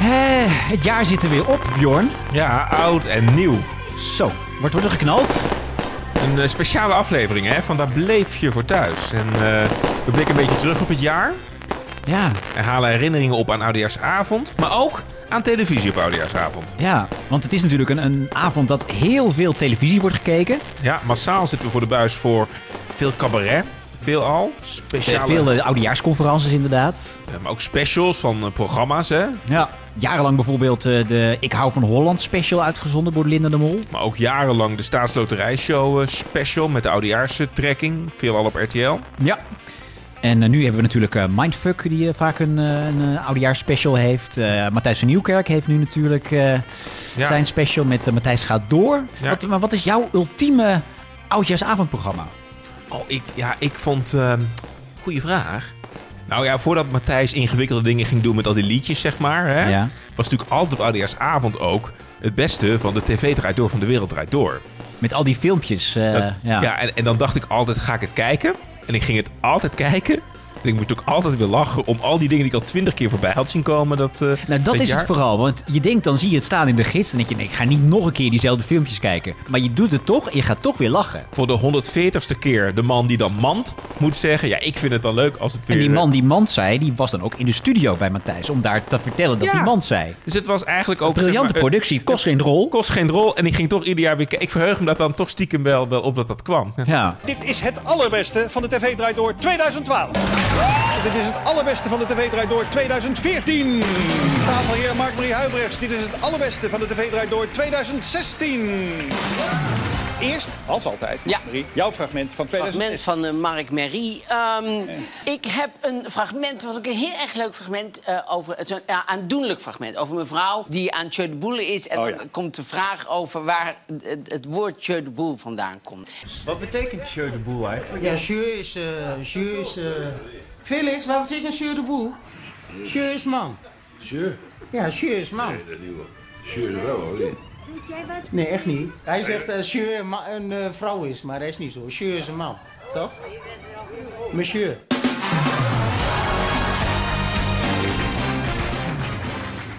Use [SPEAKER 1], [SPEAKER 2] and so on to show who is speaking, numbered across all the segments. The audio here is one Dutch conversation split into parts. [SPEAKER 1] Eh, Het jaar zit er weer op, Bjorn.
[SPEAKER 2] Ja, oud en nieuw.
[SPEAKER 1] Zo, wordt worden geknald.
[SPEAKER 2] Een eh, speciale aflevering hè, van Daar bleef je voor thuis. En eh, we blikken een beetje terug op het jaar.
[SPEAKER 1] Ja,
[SPEAKER 2] En halen herinneringen op aan Oudejaarsavond. Maar ook aan televisie op Oudejaarsavond.
[SPEAKER 1] ja. Want het is natuurlijk een, een avond dat heel veel televisie wordt gekeken. Eh,
[SPEAKER 2] Ja, massaal zitten we voor de buis voor veel cabaret. Veel al. Speciale,
[SPEAKER 1] Veel eh, oudejaarsconferences inderdaad.
[SPEAKER 2] eh, maar ook specials van eh, programma's. Hè.
[SPEAKER 1] Ja. Jarenlang bijvoorbeeld eh, de Ik hou van Holland special uitgezonden door Linda de Mol.
[SPEAKER 2] Maar ook jarenlang de Staatsloterijshow eh, special met de Oudejaarstrekking. Veel al op RTL.
[SPEAKER 1] Ja. En eh, nu hebben we natuurlijk eh, Mindfuck, die eh, vaak een, eh, een eh, oudejaarsspecial heeft. Eh, Matthijs van Nieuwkerk heeft nu natuurlijk eh,
[SPEAKER 2] Ja.
[SPEAKER 1] zijn special met eh, Matthijs gaat door.
[SPEAKER 2] Ja.
[SPEAKER 1] Wat, maar wat is jouw ultieme oudjaarsavondprogramma?
[SPEAKER 2] Oh, ik, ja, ik vond... ehm, goeie vraag. Nou ja, voordat Matthijs ingewikkelde dingen ging doen met al die liedjes, zeg maar... Hè,
[SPEAKER 1] Ja.
[SPEAKER 2] was natuurlijk altijd op Oudejaarsavond ook het beste van de TV draait door, van de wereld draait door.
[SPEAKER 1] Met al die filmpjes. eh,
[SPEAKER 2] Dat-
[SPEAKER 1] ja.
[SPEAKER 2] ja, en, en dan dacht ik altijd, ga ik het kijken? En ik ging het altijd kijken. En ik moet ook altijd weer lachen om al die dingen die ik al twintig keer voorbij had zien komen. Dat, eh,
[SPEAKER 1] Nou, dat is
[SPEAKER 2] jaar.
[SPEAKER 1] het vooral. Want je denkt, dan zie je het staan in de gids. Dan denk je, nee, ik ga niet nog een keer diezelfde filmpjes kijken. Maar je doet het toch en je gaat toch weer lachen.
[SPEAKER 2] Voor de 140ste keer de man die dan mand moet zeggen. Ja, ik vind het dan leuk als het weer... eh,
[SPEAKER 1] En die man die mand zei, die was dan ook in de studio bij Matthijs. Om daar te vertellen dat
[SPEAKER 2] Ja.
[SPEAKER 1] die mand zei.
[SPEAKER 2] Dus het was eigenlijk ook... zeg
[SPEAKER 1] Briljante
[SPEAKER 2] maar, een-
[SPEAKER 1] productie, kost geen rol.
[SPEAKER 2] kost geen rol. En ik ging toch ieder jaar weer... Ik verheug me dat dan toch stiekem wel, wel op dat dat kwam.
[SPEAKER 1] Ja.
[SPEAKER 3] Dit is het allerbeste van de TV Draait Door 2012. En dit is het allerbeste van de TV Draait Door 2014. Tafelheer Mark-Marie Huibrechts. Dit is het allerbeste van de TV Draait Door 2016. Eerst, als altijd,
[SPEAKER 4] Ja.
[SPEAKER 3] Marie, jouw fragment van
[SPEAKER 4] fragment
[SPEAKER 3] 2016.
[SPEAKER 4] van eh, Mark Merrie. Ehm, Ik heb een fragment, wat ook een heel erg leuk fragment eh, over... Het is een ja, aandoenlijk fragment over een vrouw die aan Tjeu de Boele is. En
[SPEAKER 3] Oh, ja.
[SPEAKER 4] dan komt de vraag over waar het, het woord Tjeu de Boel vandaan komt.
[SPEAKER 5] Wat betekent Sjeu de Boel eigenlijk?
[SPEAKER 6] Ja, Sjeur is... eh Sjeur is... eh, Felix, wat betekent Sjeur de Boel? Sjeur is man.
[SPEAKER 7] Sure,
[SPEAKER 6] Ja, Sjeur is man.
[SPEAKER 7] dat nieuwe. Sure wel hoor.
[SPEAKER 6] Nee, echt niet. Hij zegt dat Sjeur een, ma- een eh, vrouw is, maar dat is niet zo. Sjeur is een man, toch? Monsieur.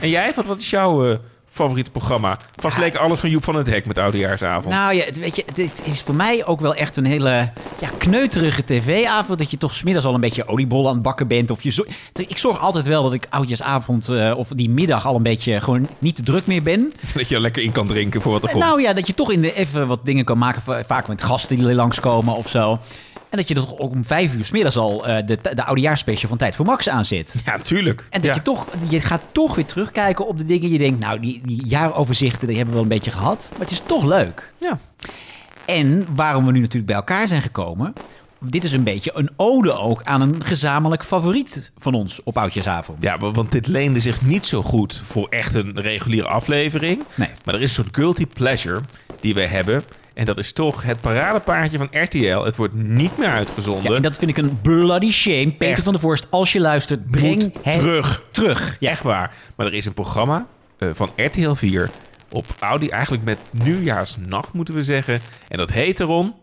[SPEAKER 2] En jij, wat, wat is jouw eh, favoriete programma? Vast leek alles van Joep van het Hek met Oudejaarsavond.
[SPEAKER 1] Nou ja, het- weet je, dit is voor mij ook wel echt een hele ja, kneuterige tv-avond. Dat je toch smiddags al een beetje oliebollen aan het bakken bent. Of je zo- ik zorg altijd wel dat ik oudjaarsavond eh, of die middag al een beetje gewoon niet te druk meer ben.
[SPEAKER 2] Dat je er lekker in kan drinken voor wat er komt.
[SPEAKER 1] Nou ja, dat je toch in de even wat dingen kan maken. va- Vaak met gasten die langskomen of zo. En dat je toch ook om vijf uur 's middags al eh, de, de oudejaarsspecial van Tijd voor Max aanzet.
[SPEAKER 2] ja, tuurlijk.
[SPEAKER 1] En dat
[SPEAKER 2] Ja.
[SPEAKER 1] je toch, je gaat toch weer terugkijken op de dingen. Je denkt, nou, die, die jaaroverzichten, die hebben we wel een beetje gehad. Maar het is toch leuk.
[SPEAKER 2] Ja.
[SPEAKER 1] En waarom we nu natuurlijk bij elkaar zijn gekomen. Dit is een beetje een ode ook aan een gezamenlijk favoriet van ons op Oudjaarsavond.
[SPEAKER 2] Ja, wa- want dit leende zich niet zo goed voor echt een reguliere aflevering.
[SPEAKER 1] Nee.
[SPEAKER 2] Maar er is een soort guilty pleasure die wij hebben. En dat is toch het paradepaardje van RTL. Het wordt niet meer uitgezonden.
[SPEAKER 1] Ja, en dat vind ik een bloody shame. Peter
[SPEAKER 2] Echt.
[SPEAKER 1] van der Voorst, als je luistert, breng
[SPEAKER 2] Moet
[SPEAKER 1] het
[SPEAKER 2] terug.
[SPEAKER 1] terug. Ja.
[SPEAKER 2] Echt waar. Maar er is een programma eh, van RTL 4 op Audi, eigenlijk met nieuwjaarsnacht moeten we zeggen. En dat heet erom.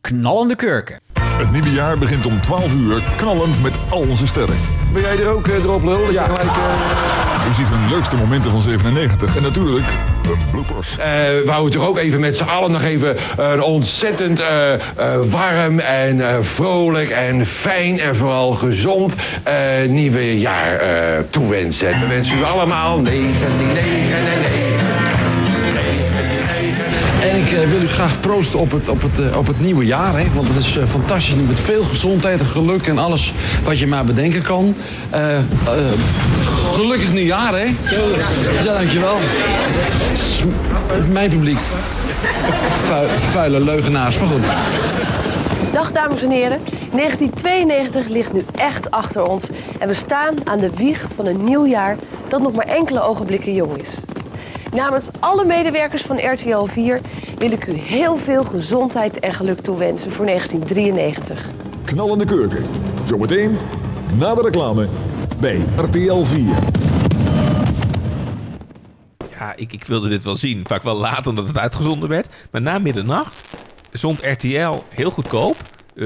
[SPEAKER 1] Knallende kurken.
[SPEAKER 8] Het nieuwe jaar begint om 12 uur knallend met al onze sterren.
[SPEAKER 9] Ben jij er ook, eh, Drop Lul? Ja. eh,
[SPEAKER 8] U ziet hun leukste momenten van 97 en natuurlijk hun bloopers.
[SPEAKER 9] Eh, we houden toch ook even met z'n allen nog even een ontzettend eh, eh, warm en eh, vrolijk en fijn en vooral gezond eh, nieuwe jaar eh, toewensen. En we wensen u allemaal 1999. En ik eh, wil u graag proosten op het, op het, eh, op het nieuwe jaar. Hè? Want het is eh, fantastisch. Met veel gezondheid en geluk en alles wat je maar bedenken kan. Eh, eh, gelukkig nieuwjaar, hè? Ja, dankjewel. S- Mijn publiek. Vu- vuile leugenaars. Maar goed.
[SPEAKER 10] Dag dames en heren, 1992 ligt nu echt achter ons en we staan aan de wieg van een nieuw jaar dat nog maar enkele ogenblikken jong is. Namens alle medewerkers van RTL 4 wil ik u heel veel gezondheid en geluk toewensen voor 1993.
[SPEAKER 8] Knallende kurken. Zometeen na de reclame bij RTL 4.
[SPEAKER 2] Ja, ik, ik wilde dit wel zien. Vaak wel laat omdat het uitgezonden werd. Maar na middernacht zond RTL heel goedkoop.
[SPEAKER 1] Mhm.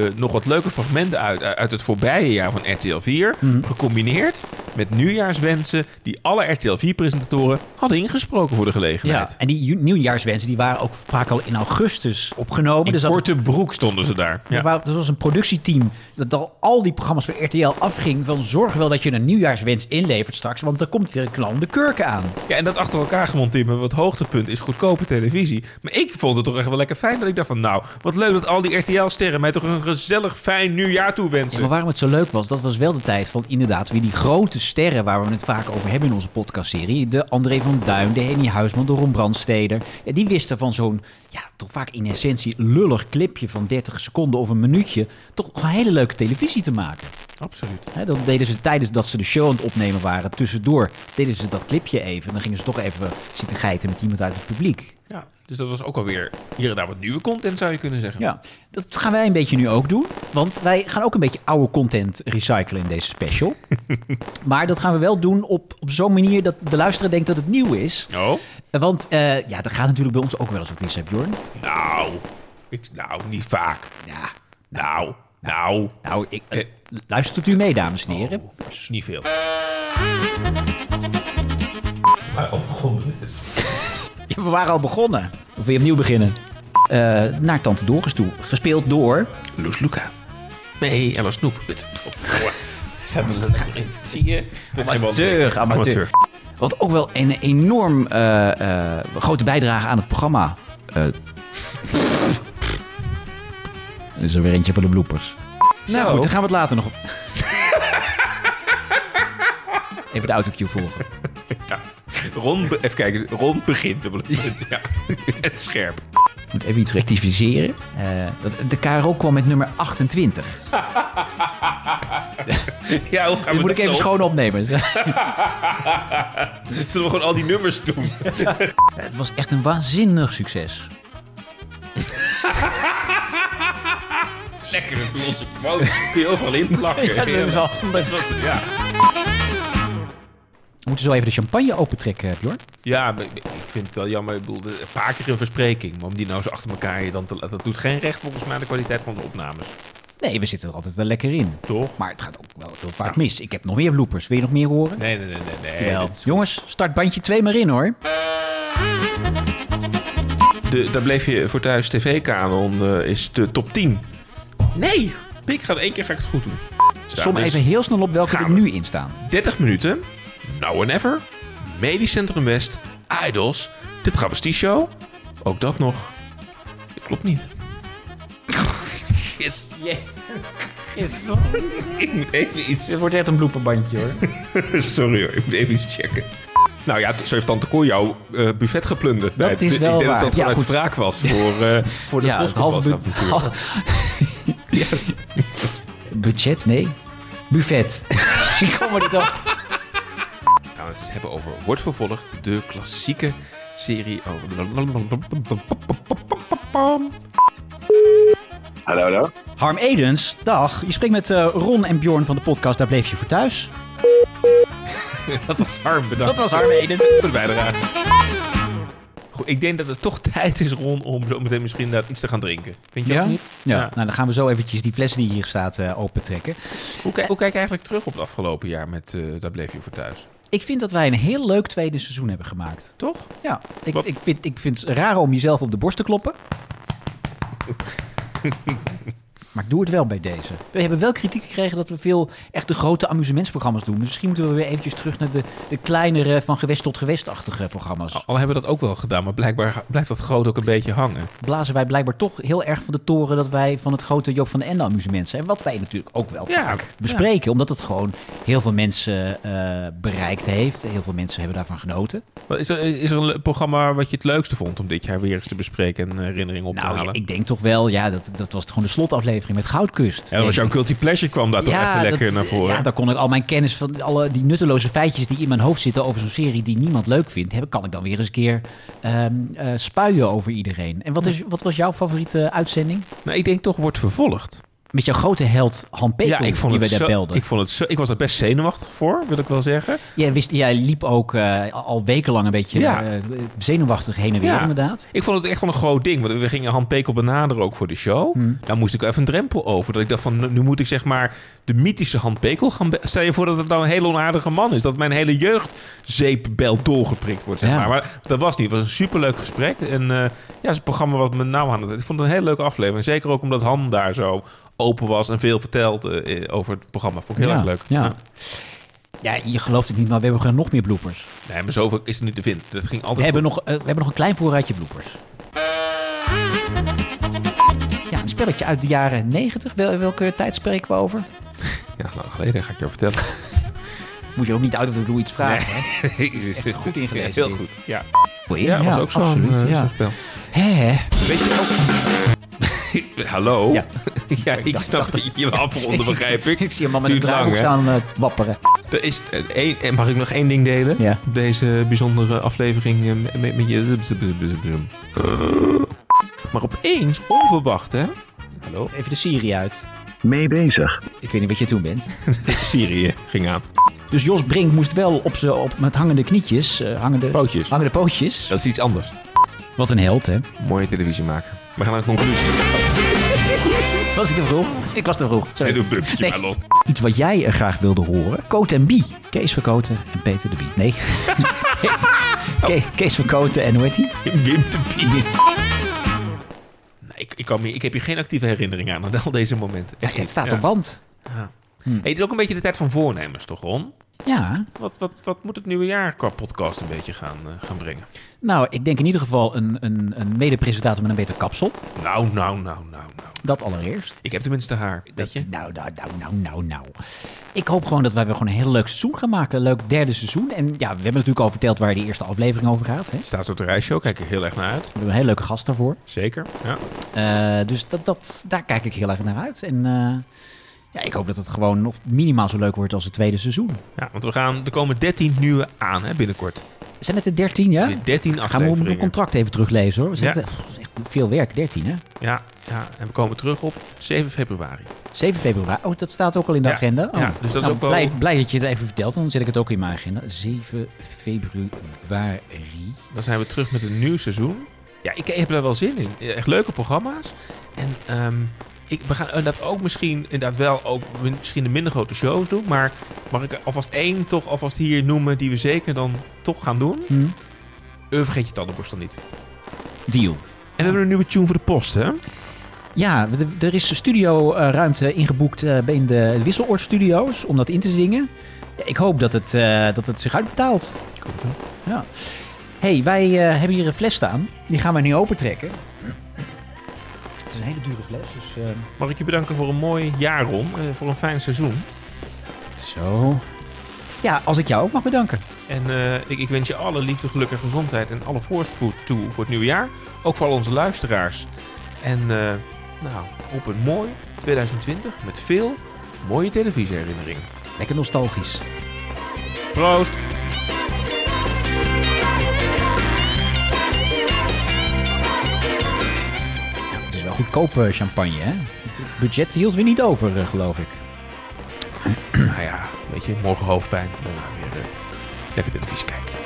[SPEAKER 2] eh, nog wat leuke fragmenten uit, uit het voorbije jaar van RTL 4. Gecombineerd met nieuwjaarswensen die alle RTL 4-presentatoren hadden ingesproken voor de gelegenheid.
[SPEAKER 1] Ja, en die ju- nieuwjaarswensen die waren ook vaak al in augustus opgenomen.
[SPEAKER 2] In
[SPEAKER 1] dus dat-
[SPEAKER 2] korte broek stonden ze daar.
[SPEAKER 1] Er
[SPEAKER 2] Ja.
[SPEAKER 1] wa- er was een productieteam dat al, al die programma's van RTL afging van zorg wel dat je een nieuwjaarswens inlevert straks, want er komt weer een knallende kurk aan.
[SPEAKER 2] Ja, en dat achter elkaar gemonteerd met wat hoogtepunt is goedkope televisie. Maar ik vond het toch echt wel lekker fijn dat ik dacht van... nou, wat leuk dat al die RTL-sterren mij toch een gezellig fijn nieuwjaar
[SPEAKER 1] Ja,
[SPEAKER 2] toewensen.
[SPEAKER 1] maar waarom het zo leuk was, dat was wel de tijd van inderdaad weer die grote sterren waar we het vaak over hebben in onze podcastserie. De André van Duin, de Henny Huisman, de Ron Brandsteder. Ja, die wisten van zo'n, ja, toch vaak in essentie lullig clipje van 30 seconden of een minuutje, toch gewoon hele leuke televisie te maken.
[SPEAKER 2] Absoluut.
[SPEAKER 1] Hè, dat deden ze tijdens dat ze de show aan het opnemen waren. Tussendoor deden ze dat clipje even. En dan gingen ze toch even zitten geiten met iemand uit het publiek.
[SPEAKER 2] Ja, dus dat was ook alweer hier en daar wat nieuwe content, zou je kunnen zeggen.
[SPEAKER 1] Ja, dat gaan wij een beetje nu ook doen. Want wij gaan ook een beetje oude content recyclen in deze special. maar dat gaan we wel doen op, op zo'n manier dat de luisteraar denkt dat het nieuw is.
[SPEAKER 2] Oh,
[SPEAKER 1] Eh, Want eh, ja, dat gaat natuurlijk bij ons ook wel eens wat mis, hè Bjorn?
[SPEAKER 2] nou. Ik, nou, niet vaak.
[SPEAKER 1] Ja,
[SPEAKER 2] Nou, nou.
[SPEAKER 1] nou, ik, eh,
[SPEAKER 2] Eh.
[SPEAKER 1] luistert u mee, dames en heren.
[SPEAKER 2] Oh, dat is niet veel. Maar op is.
[SPEAKER 1] Ja, we waren al begonnen. Of weer opnieuw beginnen. Eh, naar Tante Doris toe. Gespeeld door...
[SPEAKER 2] Loes Luca. Nee, Ella Snoep. Het- Oh, Zet ze er nog in. Zie je?
[SPEAKER 1] Amateur, amateur. Wat ook wel een enorm eh, eh, grote bijdrage aan het programma. eh Dit is er weer eentje voor de bloepers. Nou goed, daar gaan we het later nog op. Even de autocue volgen.
[SPEAKER 2] Ja. Ron, be- even kijken. Rond begint te bloeden. Ja. En scherp.
[SPEAKER 1] Ik moet even iets rectificeren. Eh, dat- de KRO kwam met nummer 28.
[SPEAKER 2] Ja, hoe gaan
[SPEAKER 1] Dit moet ik
[SPEAKER 2] we dat
[SPEAKER 1] even
[SPEAKER 2] doen?
[SPEAKER 1] schoon opnemen.
[SPEAKER 2] Zullen we gewoon al die nummers doen?
[SPEAKER 1] Het was echt een waanzinnig succes.
[SPEAKER 2] Lekkere losse quote. Kun je overal in plakken.
[SPEAKER 1] Ja, dat is wel
[SPEAKER 2] Dat was, ja.
[SPEAKER 1] We moeten zo even de champagne opentrekken, Bjorn.
[SPEAKER 2] ja, maar ik ik vind het wel jammer. Ik bedoel, de- een paar keer een verspreking. Maar om die nou zo achter elkaar je dan te laten... Dat doet geen recht volgens mij aan de kwaliteit van de opnames.
[SPEAKER 1] Nee, we zitten er altijd wel lekker in.
[SPEAKER 2] Toch?
[SPEAKER 1] Maar het gaat ook wel heel vaak mis. Ik heb nog meer bloepers. Wil je nog meer horen?
[SPEAKER 2] Nee, nee, nee, nee. nee.
[SPEAKER 1] Jawel. Jongens, start bandje 2 maar in hoor.
[SPEAKER 2] De, daar bleef je voor thuis tv-kanon eh, is de top 10. Nee! Ik ga één keer ga ik het goed doen.
[SPEAKER 1] Som
[SPEAKER 2] Dames,
[SPEAKER 1] even heel snel op welke
[SPEAKER 2] gaan
[SPEAKER 1] er
[SPEAKER 2] we.
[SPEAKER 1] nu in staan.
[SPEAKER 2] 30 minuten. Now and Ever. Medisch Centrum West. Idols. De Travestie Show. Ook dat nog. Dat klopt niet. Shit. Ik moet even iets...
[SPEAKER 1] wordt echt een bloeperbandje hoor.
[SPEAKER 2] Sorry hoor, ik moet even iets checken. Nou ja, zo heeft Tante Cor jouw eh, buffet geplunderd. bij het-
[SPEAKER 1] is wel
[SPEAKER 2] ik denk
[SPEAKER 1] waar.
[SPEAKER 2] dat dat
[SPEAKER 1] Ja,
[SPEAKER 2] vanuit
[SPEAKER 1] goed.
[SPEAKER 2] wraak was voor, eh voor de
[SPEAKER 1] Ja, het halve
[SPEAKER 2] Troskopasavond
[SPEAKER 1] bu-
[SPEAKER 2] natuurlijk.
[SPEAKER 1] Budget? Nee. Buffet. Ik kom er niet op.
[SPEAKER 2] gaan we het dus hebben over Wordt Vervolgd, de klassieke serie over...
[SPEAKER 11] Hallo, hallo.
[SPEAKER 1] Harm Edens, dag. Je spreekt met eh, Ron en Bjorn van de podcast Daar Bleef Je Voor Thuis.
[SPEAKER 2] Dat was Harm, bedankt.
[SPEAKER 1] Dat was Harm Edens.
[SPEAKER 2] Voor de bijdrage. Goed, ik denk dat het toch tijd is, Ron, om zo meteen misschien inderdaad iets te gaan drinken. Vind je
[SPEAKER 1] Ja?
[SPEAKER 2] dat niet?
[SPEAKER 1] Ja, nou dan gaan we zo eventjes die fles die hier staat eh, opentrekken.
[SPEAKER 2] Hoe, kijk, hoe kijk je eigenlijk terug op het afgelopen jaar met eh, Daar bleef je voor thuis?
[SPEAKER 1] Ik vind dat wij een heel leuk tweede seizoen hebben gemaakt.
[SPEAKER 2] Toch?
[SPEAKER 1] Ja, ik,
[SPEAKER 2] Wat?
[SPEAKER 1] ik, vind, ik vind het raar om jezelf op de borst te kloppen. maar ik doe het wel bij deze. We hebben wel kritiek gekregen dat we veel echt de grote amusementsprogramma's doen. Dus misschien moeten we weer eventjes terug naar de, de kleinere van gewest tot gewestachtige programma's.
[SPEAKER 2] Al hebben we dat ook wel gedaan, maar blijkbaar blijft dat groot ook een beetje hangen.
[SPEAKER 1] Blazen wij blijkbaar toch heel erg van de toren dat wij van het grote Joop van den Ende amusement zijn. Wat wij natuurlijk ook wel
[SPEAKER 2] Ja,
[SPEAKER 1] vaak
[SPEAKER 2] ja.
[SPEAKER 1] bespreken. Omdat het gewoon heel veel mensen eh, bereikt heeft. Heel veel mensen hebben daarvan genoten.
[SPEAKER 2] Wat Is er, is er een le- programma wat je het leukste vond om dit jaar weer eens te bespreken en eh, herinneringen op te
[SPEAKER 1] Nou, ja,
[SPEAKER 2] halen?
[SPEAKER 1] ik denk toch wel, ja, dat, dat was gewoon de slotaflevering met Goudkust.
[SPEAKER 2] Ja, dat was jouw
[SPEAKER 1] denk ik.
[SPEAKER 2] guilty pleasure kwam daar toch even lekker
[SPEAKER 1] dat-
[SPEAKER 2] naar voren.
[SPEAKER 1] Ja, daar kon ik al mijn kennis van alle die nutteloze feitjes die in mijn hoofd zitten over zo'n serie die niemand leuk vindt, heb, kan ik dan weer eens een keer ehm, eh, spuien over iedereen. En wat, is, wat was jouw favoriete eh, uitzending?
[SPEAKER 2] Nou, ik denk toch wordt vervolgd.
[SPEAKER 1] met jouw grote held Han Pekel,
[SPEAKER 2] ja, ik vond
[SPEAKER 1] die
[SPEAKER 2] het
[SPEAKER 1] we daar
[SPEAKER 2] zo-
[SPEAKER 1] belden.
[SPEAKER 2] Ik, vond het zo- ik was er best zenuwachtig voor, wil ik wel zeggen.
[SPEAKER 1] Jij, wist, jij liep ook eh, al wekenlang een beetje
[SPEAKER 2] Ja.
[SPEAKER 1] eh, zenuwachtig heen en weer,
[SPEAKER 2] Ja.
[SPEAKER 1] inderdaad.
[SPEAKER 2] Ik vond het echt wel een groot ding. Want we gingen Han Pekel benaderen ook voor de show.
[SPEAKER 1] Hmm.
[SPEAKER 2] Daar moest ik even een drempel over. Dat ik dacht van, nu moet ik zeg maar de mythische Han Pekel gaan... be- Stel je voor dat het dan een hele onaardige man is. Dat mijn hele jeugdzeepbel doorgeprikt wordt, zeg
[SPEAKER 1] Ja.
[SPEAKER 2] maar. Maar dat was niet. Het was een superleuk gesprek. En eh, ja, het is een programma wat me nou aan het... Ik vond het een hele leuke aflevering. Zeker ook omdat Han daar zo open was en veel vertelde eh, over het programma. Vond ik heel
[SPEAKER 1] ja.
[SPEAKER 2] erg leuk.
[SPEAKER 1] Ja. ja, je gelooft het niet, maar we hebben nog meer bloepers.
[SPEAKER 2] Nee, maar zoveel is er niet te vinden. Dat ging altijd
[SPEAKER 1] We hebben,
[SPEAKER 2] goed.
[SPEAKER 1] nog, eh, we hebben nog een klein voorraadje bloepers. Ja, een spelletje uit de jaren 90. Wel, welke tijd spreken we over?
[SPEAKER 2] Ja, lang geleden ga ik jou vertellen.
[SPEAKER 1] Moet je ook niet uit of de bloe iets vragen, hè?
[SPEAKER 2] is
[SPEAKER 1] echt goed ingelezen,
[SPEAKER 2] Heel
[SPEAKER 1] dit.
[SPEAKER 2] goed. Ja.
[SPEAKER 1] Goeie,
[SPEAKER 2] Ja, was ook zo'n
[SPEAKER 1] absoluut,
[SPEAKER 2] eh,
[SPEAKER 1] ja.
[SPEAKER 2] zo'n spel.
[SPEAKER 1] Hè, hè?
[SPEAKER 2] Weet je ook... Hallo?
[SPEAKER 1] Ja.
[SPEAKER 2] Ja, ik snap dat je hier wil afronden, begrijp ik.
[SPEAKER 1] Ik zie een man met een
[SPEAKER 2] Duurt lang,
[SPEAKER 1] draaiboek
[SPEAKER 2] hè?
[SPEAKER 1] staan eh, wapperen.
[SPEAKER 2] Er is, eh, één- en mag ik nog één ding delen?
[SPEAKER 1] Ja.
[SPEAKER 2] Op Deze bijzondere aflevering eh, met, met, met je... Maar opeens, onverwacht, hè? Hallo?
[SPEAKER 1] Even de Siri uit.
[SPEAKER 11] Mee bezig.
[SPEAKER 1] Ik weet niet wat je toen bent.
[SPEAKER 2] Syrië ging aan.
[SPEAKER 1] Dus Jos Brink moest wel op z'n- op, met hangende knietjes, eh, hangende,
[SPEAKER 2] Pootjes.
[SPEAKER 1] hangende pootjes.
[SPEAKER 2] Dat is iets anders.
[SPEAKER 1] Wat een held, hè?
[SPEAKER 2] Mooie televisie maken. We gaan naar een conclusie.
[SPEAKER 1] Was ik te vroeg? Ik was te vroeg.
[SPEAKER 2] Hey,
[SPEAKER 1] Sorry.
[SPEAKER 2] doe een bumpje maar los.
[SPEAKER 1] Iets wat jij eh, graag wilde horen. Koot en Bie. Kees van Koten en Peter de Bie. Nee. Ke- Kees van Koten en hoe heet die?
[SPEAKER 2] Wim de Bie. Nee, Nou, ik, ik, kan me- ik heb hier geen actieve herinnering aan, aan al deze momenten.
[SPEAKER 1] Ja,
[SPEAKER 2] Echt
[SPEAKER 1] het
[SPEAKER 2] niet.
[SPEAKER 1] staat
[SPEAKER 2] Ja.
[SPEAKER 1] op band.
[SPEAKER 2] Hey, het is ook een beetje de tijd van voornemens, toch Ron?
[SPEAKER 1] Ja.
[SPEAKER 2] Wat, wat, wat moet het nieuwe jaar qua podcast een beetje gaan, eh, gaan brengen?
[SPEAKER 1] Nou, ik denk in ieder geval een, een, een medepresentator met een beter kapsel.
[SPEAKER 2] Nou, nou, nou, nou, nou.
[SPEAKER 1] Dat allereerst.
[SPEAKER 2] Ik heb tenminste haar, weet je?
[SPEAKER 1] Nou, nou, nou, nou, nou, nou. Ik hoop gewoon dat wij weer gewoon een heel leuk seizoen gaan maken. Een leuk derde seizoen. En ja, we hebben natuurlijk al verteld waar die eerste aflevering over gaat. Hè? We
[SPEAKER 2] Staat op de reisshow, kijk er heel erg naar uit.
[SPEAKER 1] hebben een hele leuke gast daarvoor.
[SPEAKER 2] Zeker, ja.
[SPEAKER 1] Eh, dus dat, dat, daar kijk ik heel erg naar uit. En eh, ja, ik hoop dat het gewoon nog minimaal zo leuk wordt als het tweede seizoen.
[SPEAKER 2] ja. Want we gaan, er komen 13 nieuwe aan hè, binnenkort.
[SPEAKER 1] Zijn het er 13, ja?
[SPEAKER 2] De 13
[SPEAKER 1] Gaan we mijn
[SPEAKER 2] afleveringen.
[SPEAKER 1] contract even teruglezen hoor. We zijn
[SPEAKER 2] Ja.
[SPEAKER 1] echt- pff, dat is echt veel werk, 13 hè?
[SPEAKER 2] Ja, ja, en we komen terug op 7 februari.
[SPEAKER 1] 7 februari. Oh, dat staat ook al in de
[SPEAKER 2] Ja.
[SPEAKER 1] agenda. Oh.
[SPEAKER 2] Ja, dus dat is
[SPEAKER 1] Nou,
[SPEAKER 2] ook wel-
[SPEAKER 1] blij, blij dat je het even vertelt, dan zet ik het ook in mijn agenda. 7 februari.
[SPEAKER 2] Dan zijn we terug met een nieuw seizoen. Ja, ik heb daar wel zin in. Echt leuke programma's. En ehm, ik, we gaan inderdaad ook misschien inderdaad wel ook min- misschien de minder grote shows doen. Maar mag ik er alvast één toch alvast hier noemen die we zeker dan toch gaan doen?
[SPEAKER 1] Hm?
[SPEAKER 2] Eh, vergeet je tandenborstel niet. En
[SPEAKER 1] Deal.
[SPEAKER 2] we hebben een nieuwe tune voor de post, hè?
[SPEAKER 1] Ja, d- er is studioruimte ingeboekt eh, in de Wisseloordstudio's om dat in te zingen. Ja, Ik hoop dat het, eh, dat het zich uitbetaalt. Ja. hey, wij eh, hebben hier een fles staan. Die gaan wij nu opentrekken. Het is een hele dure fles, dus... eh,
[SPEAKER 2] Mag ik je bedanken voor een mooi jaar, Ron. eh, voor een fijn seizoen.
[SPEAKER 1] Zo. Ja, als ik jou ook mag bedanken.
[SPEAKER 2] En eh, ik, ik wens je alle liefde, geluk en gezondheid en alle voorspoed toe voor het nieuwe jaar. Ook voor al onze luisteraars. En eh, nou, op een mooi 2020 met veel mooie televisieherinneringen.
[SPEAKER 1] Lekker nostalgisch.
[SPEAKER 2] Proost!
[SPEAKER 1] Het is wel goedkope champagne, hè? Het budget hield weer niet over, eh, geloof ik.
[SPEAKER 2] Nou ja, weet je, morgen hoofdpijn. Daarna weer eh, lekker televisie kijken.